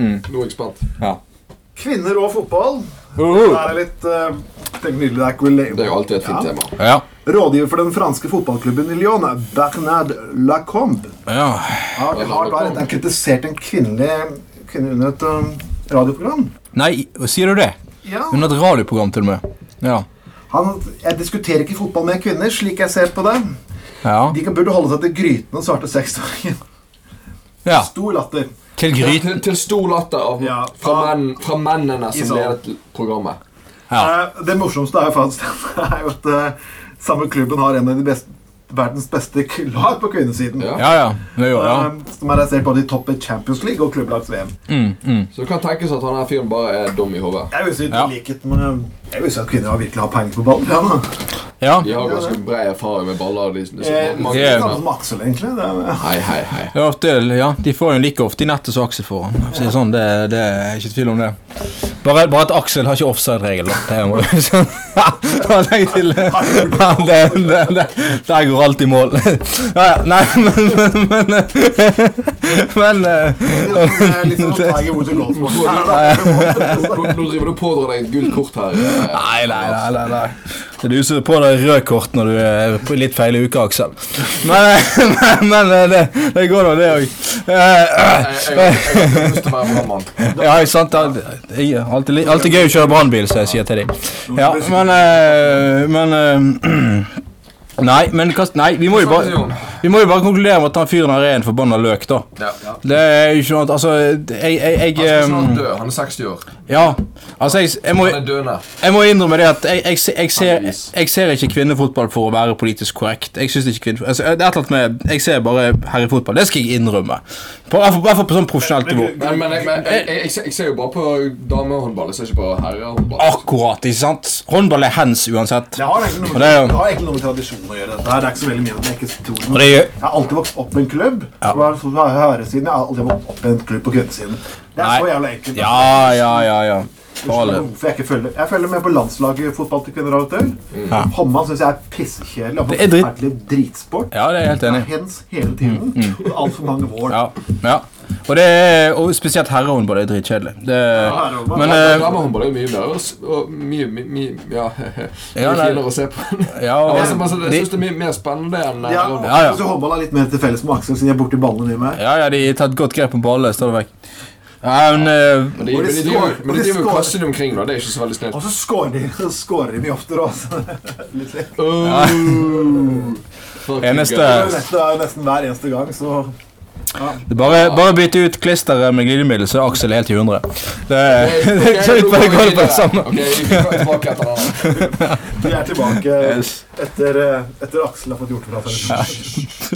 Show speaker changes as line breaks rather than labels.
Mm.
Nå er jeg spent.
Ja.
Kvinner og fotball.
Uh-huh.
Det
Uhu.
er litt eh, tenk nydelig, det er ikke vel-
Det er jo alltid et fint
Ja.
tema.
Ja.
Rådgiver for den franske fotballklubben i Lyon er Bernard Lacombe.
ja.
Har, har da rett, er kritisert en kvinnelig kvinne under et eh, radioprogram.
Nei, sier du det?
Ja.
Under et radioprogram, til og med. Ja.
Han, jeg diskuterer ikke fotball med kvinner, slik jeg ser på det.
Ja.
De kan, burde holde seg til grytene svarte seksåringen.
ja.
Stor latter.
Til gryten.
Til, til stor latter av,
Ja.
fra, menn, fra mennene
I
som
salen.
ledet programmet.
Ja.
Eh, Det morsomste er jo faktisk er jo at eh, samme klubben har en av de beste, verdens beste lag på kvinnesiden.
Ja.
Ja, ja. Det gjør ja.
Eh, Som er basert både i topp i Champions League og klubblags-VM.
Mm, mm.
Så det kan tenkes at han her fyren bare er dum i hodet.
Jeg vil si
Ja.
i likhet med Jeg vil si at kvinner har virkelig har peiling på ball. Ja, da.
Ja.
De har jo ganske bred erfaring med baller. De, de,
Eh,
mange-
det er samme som Aksel, egentlig. Det er,
Hei, hei, hei.
Ja, ofte, ja, De får jo like ofte i nettet som Aksel får. For å si det sånn, det, det er ikke tvil om det. Bare, bare at Aksel har ikke offside-regel. da. Det er jo- sånn. Ja, legg til det. Ja, det, det, det. Der går alt i mål. Ja, ja, nei, men Men, men, men eh,
det er litt sånn at jeg er hvor du går for. Nei, nei,
Nå nå driver du og pådrar deg et gult kort her. Eh,
Nei, nei, nei. nei, nei. Det er du som er på deg rød kort når du er på litt feil i uka, Aksel. Men, men, men eh, det, det går nå, det òg.
Jeg, jeg, jeg, jeg har lyst til å være brannmann.
Ja, ikke sant. Alt- jeg- Alltid, li- alltid gøy å kjøre brannbil, som jeg sier til dem. Ja, men eh, Men eh, Nei, men hva Nei, vi må jo bare Vi må jo bare konkludere med at han fyren her er en forbanna løk, da.
Ja. Han
Det er jo ikke noe annet Altså, jeg, jeg, jeg
skal snart
eh,
dø. Han er 60 år.
Ja. Altså, jeg, jeg, må,
Han er døende.
jeg må innrømme det at jeg, jeg, se- jeg, ser, jeg ser ikke kvinnefotball for å være politisk korrekt. Jeg synes ikke kvinne, altså, det er et eller annet med Jeg ser bare herrefotball. Det skal jeg innrømme. På, i hvert fall- i hvert fall på sånn profesjonelt nivå.
Men, men, jeg, men jeg, jeg, jeg, ser- jeg ser jo bare på damehåndball. Jeg ser ikke på herrehåndball.
Akkurat, ikke sant? Håndball er hands uansett.
Det har egentlig noe
Og det er jo-
med, det har egentlig noe med tradisjon å gjøre. dette her. Det er ikke så veldig mye at jeg ikke tror
Og
noe.
det gjør
Jeg har alltid vokst opp i en klubb.
Ja.
Så var- så var jeg herresiden, jeg har alltid vokst opp i en klubb på kvinnesiden. Det er
Nei.
så jævla altså. enkelt.
Ja, ja, ja. ja. For all
Hvorfor
del.
jeg, ikke følger. jeg følger med på landslaget i fotball til kvinner av og til.
Ja.
Håndball syns jeg er pissekjedelig og
Det er dritt.
forferdelig dritsport.
Ja, det er jeg helt enig i.
Hens hele tiden. Og altfor mange mål.
Ja, ja. Og, det er, og spesielt herrehåndball er dritkjedelig. Det,
herrehåndball.
men,
Ja,
eh,
Damehåndball er jo mye bedre s- og mye, mye, mye Ja, mye
Ja, nei.
finere å se på.
ja,
Ja, altså,
og,
altså, jeg
de,
synes det er mye mer spennende enn eh,
Ja,
herrehåndball.
Ja, ja.
Så håndball er litt mer til felles med Aksel, siden jeg er borti ballene mye mer.
ja, ja, de har tatt godt grep om ballen stadig vekk. Ja, men eh,
Men de,
Og
men
de
de driver
skår-
men de
og de
driver jo
skår.
kassen omkring, da. Det er ikke så veldig snilt.
Og så scorer de, så scorer de mye oftere også. Litt litt.
Fuck,
Eneste-
Det
gøy.
er jo nesten, det er jo nesten hver eneste gang, så
det er bare, bare bytte ut klisteret med glidemiddel, så er Aksel helt i hundre. Det, det,
Ok,
så
nå
ut bare
går vi
går det på
videre.
det samme.
Ok, vi går tilbake etter den.
vi er tilbake
Yes.
etter, eh, etter Aksel har fått gjort fra seg.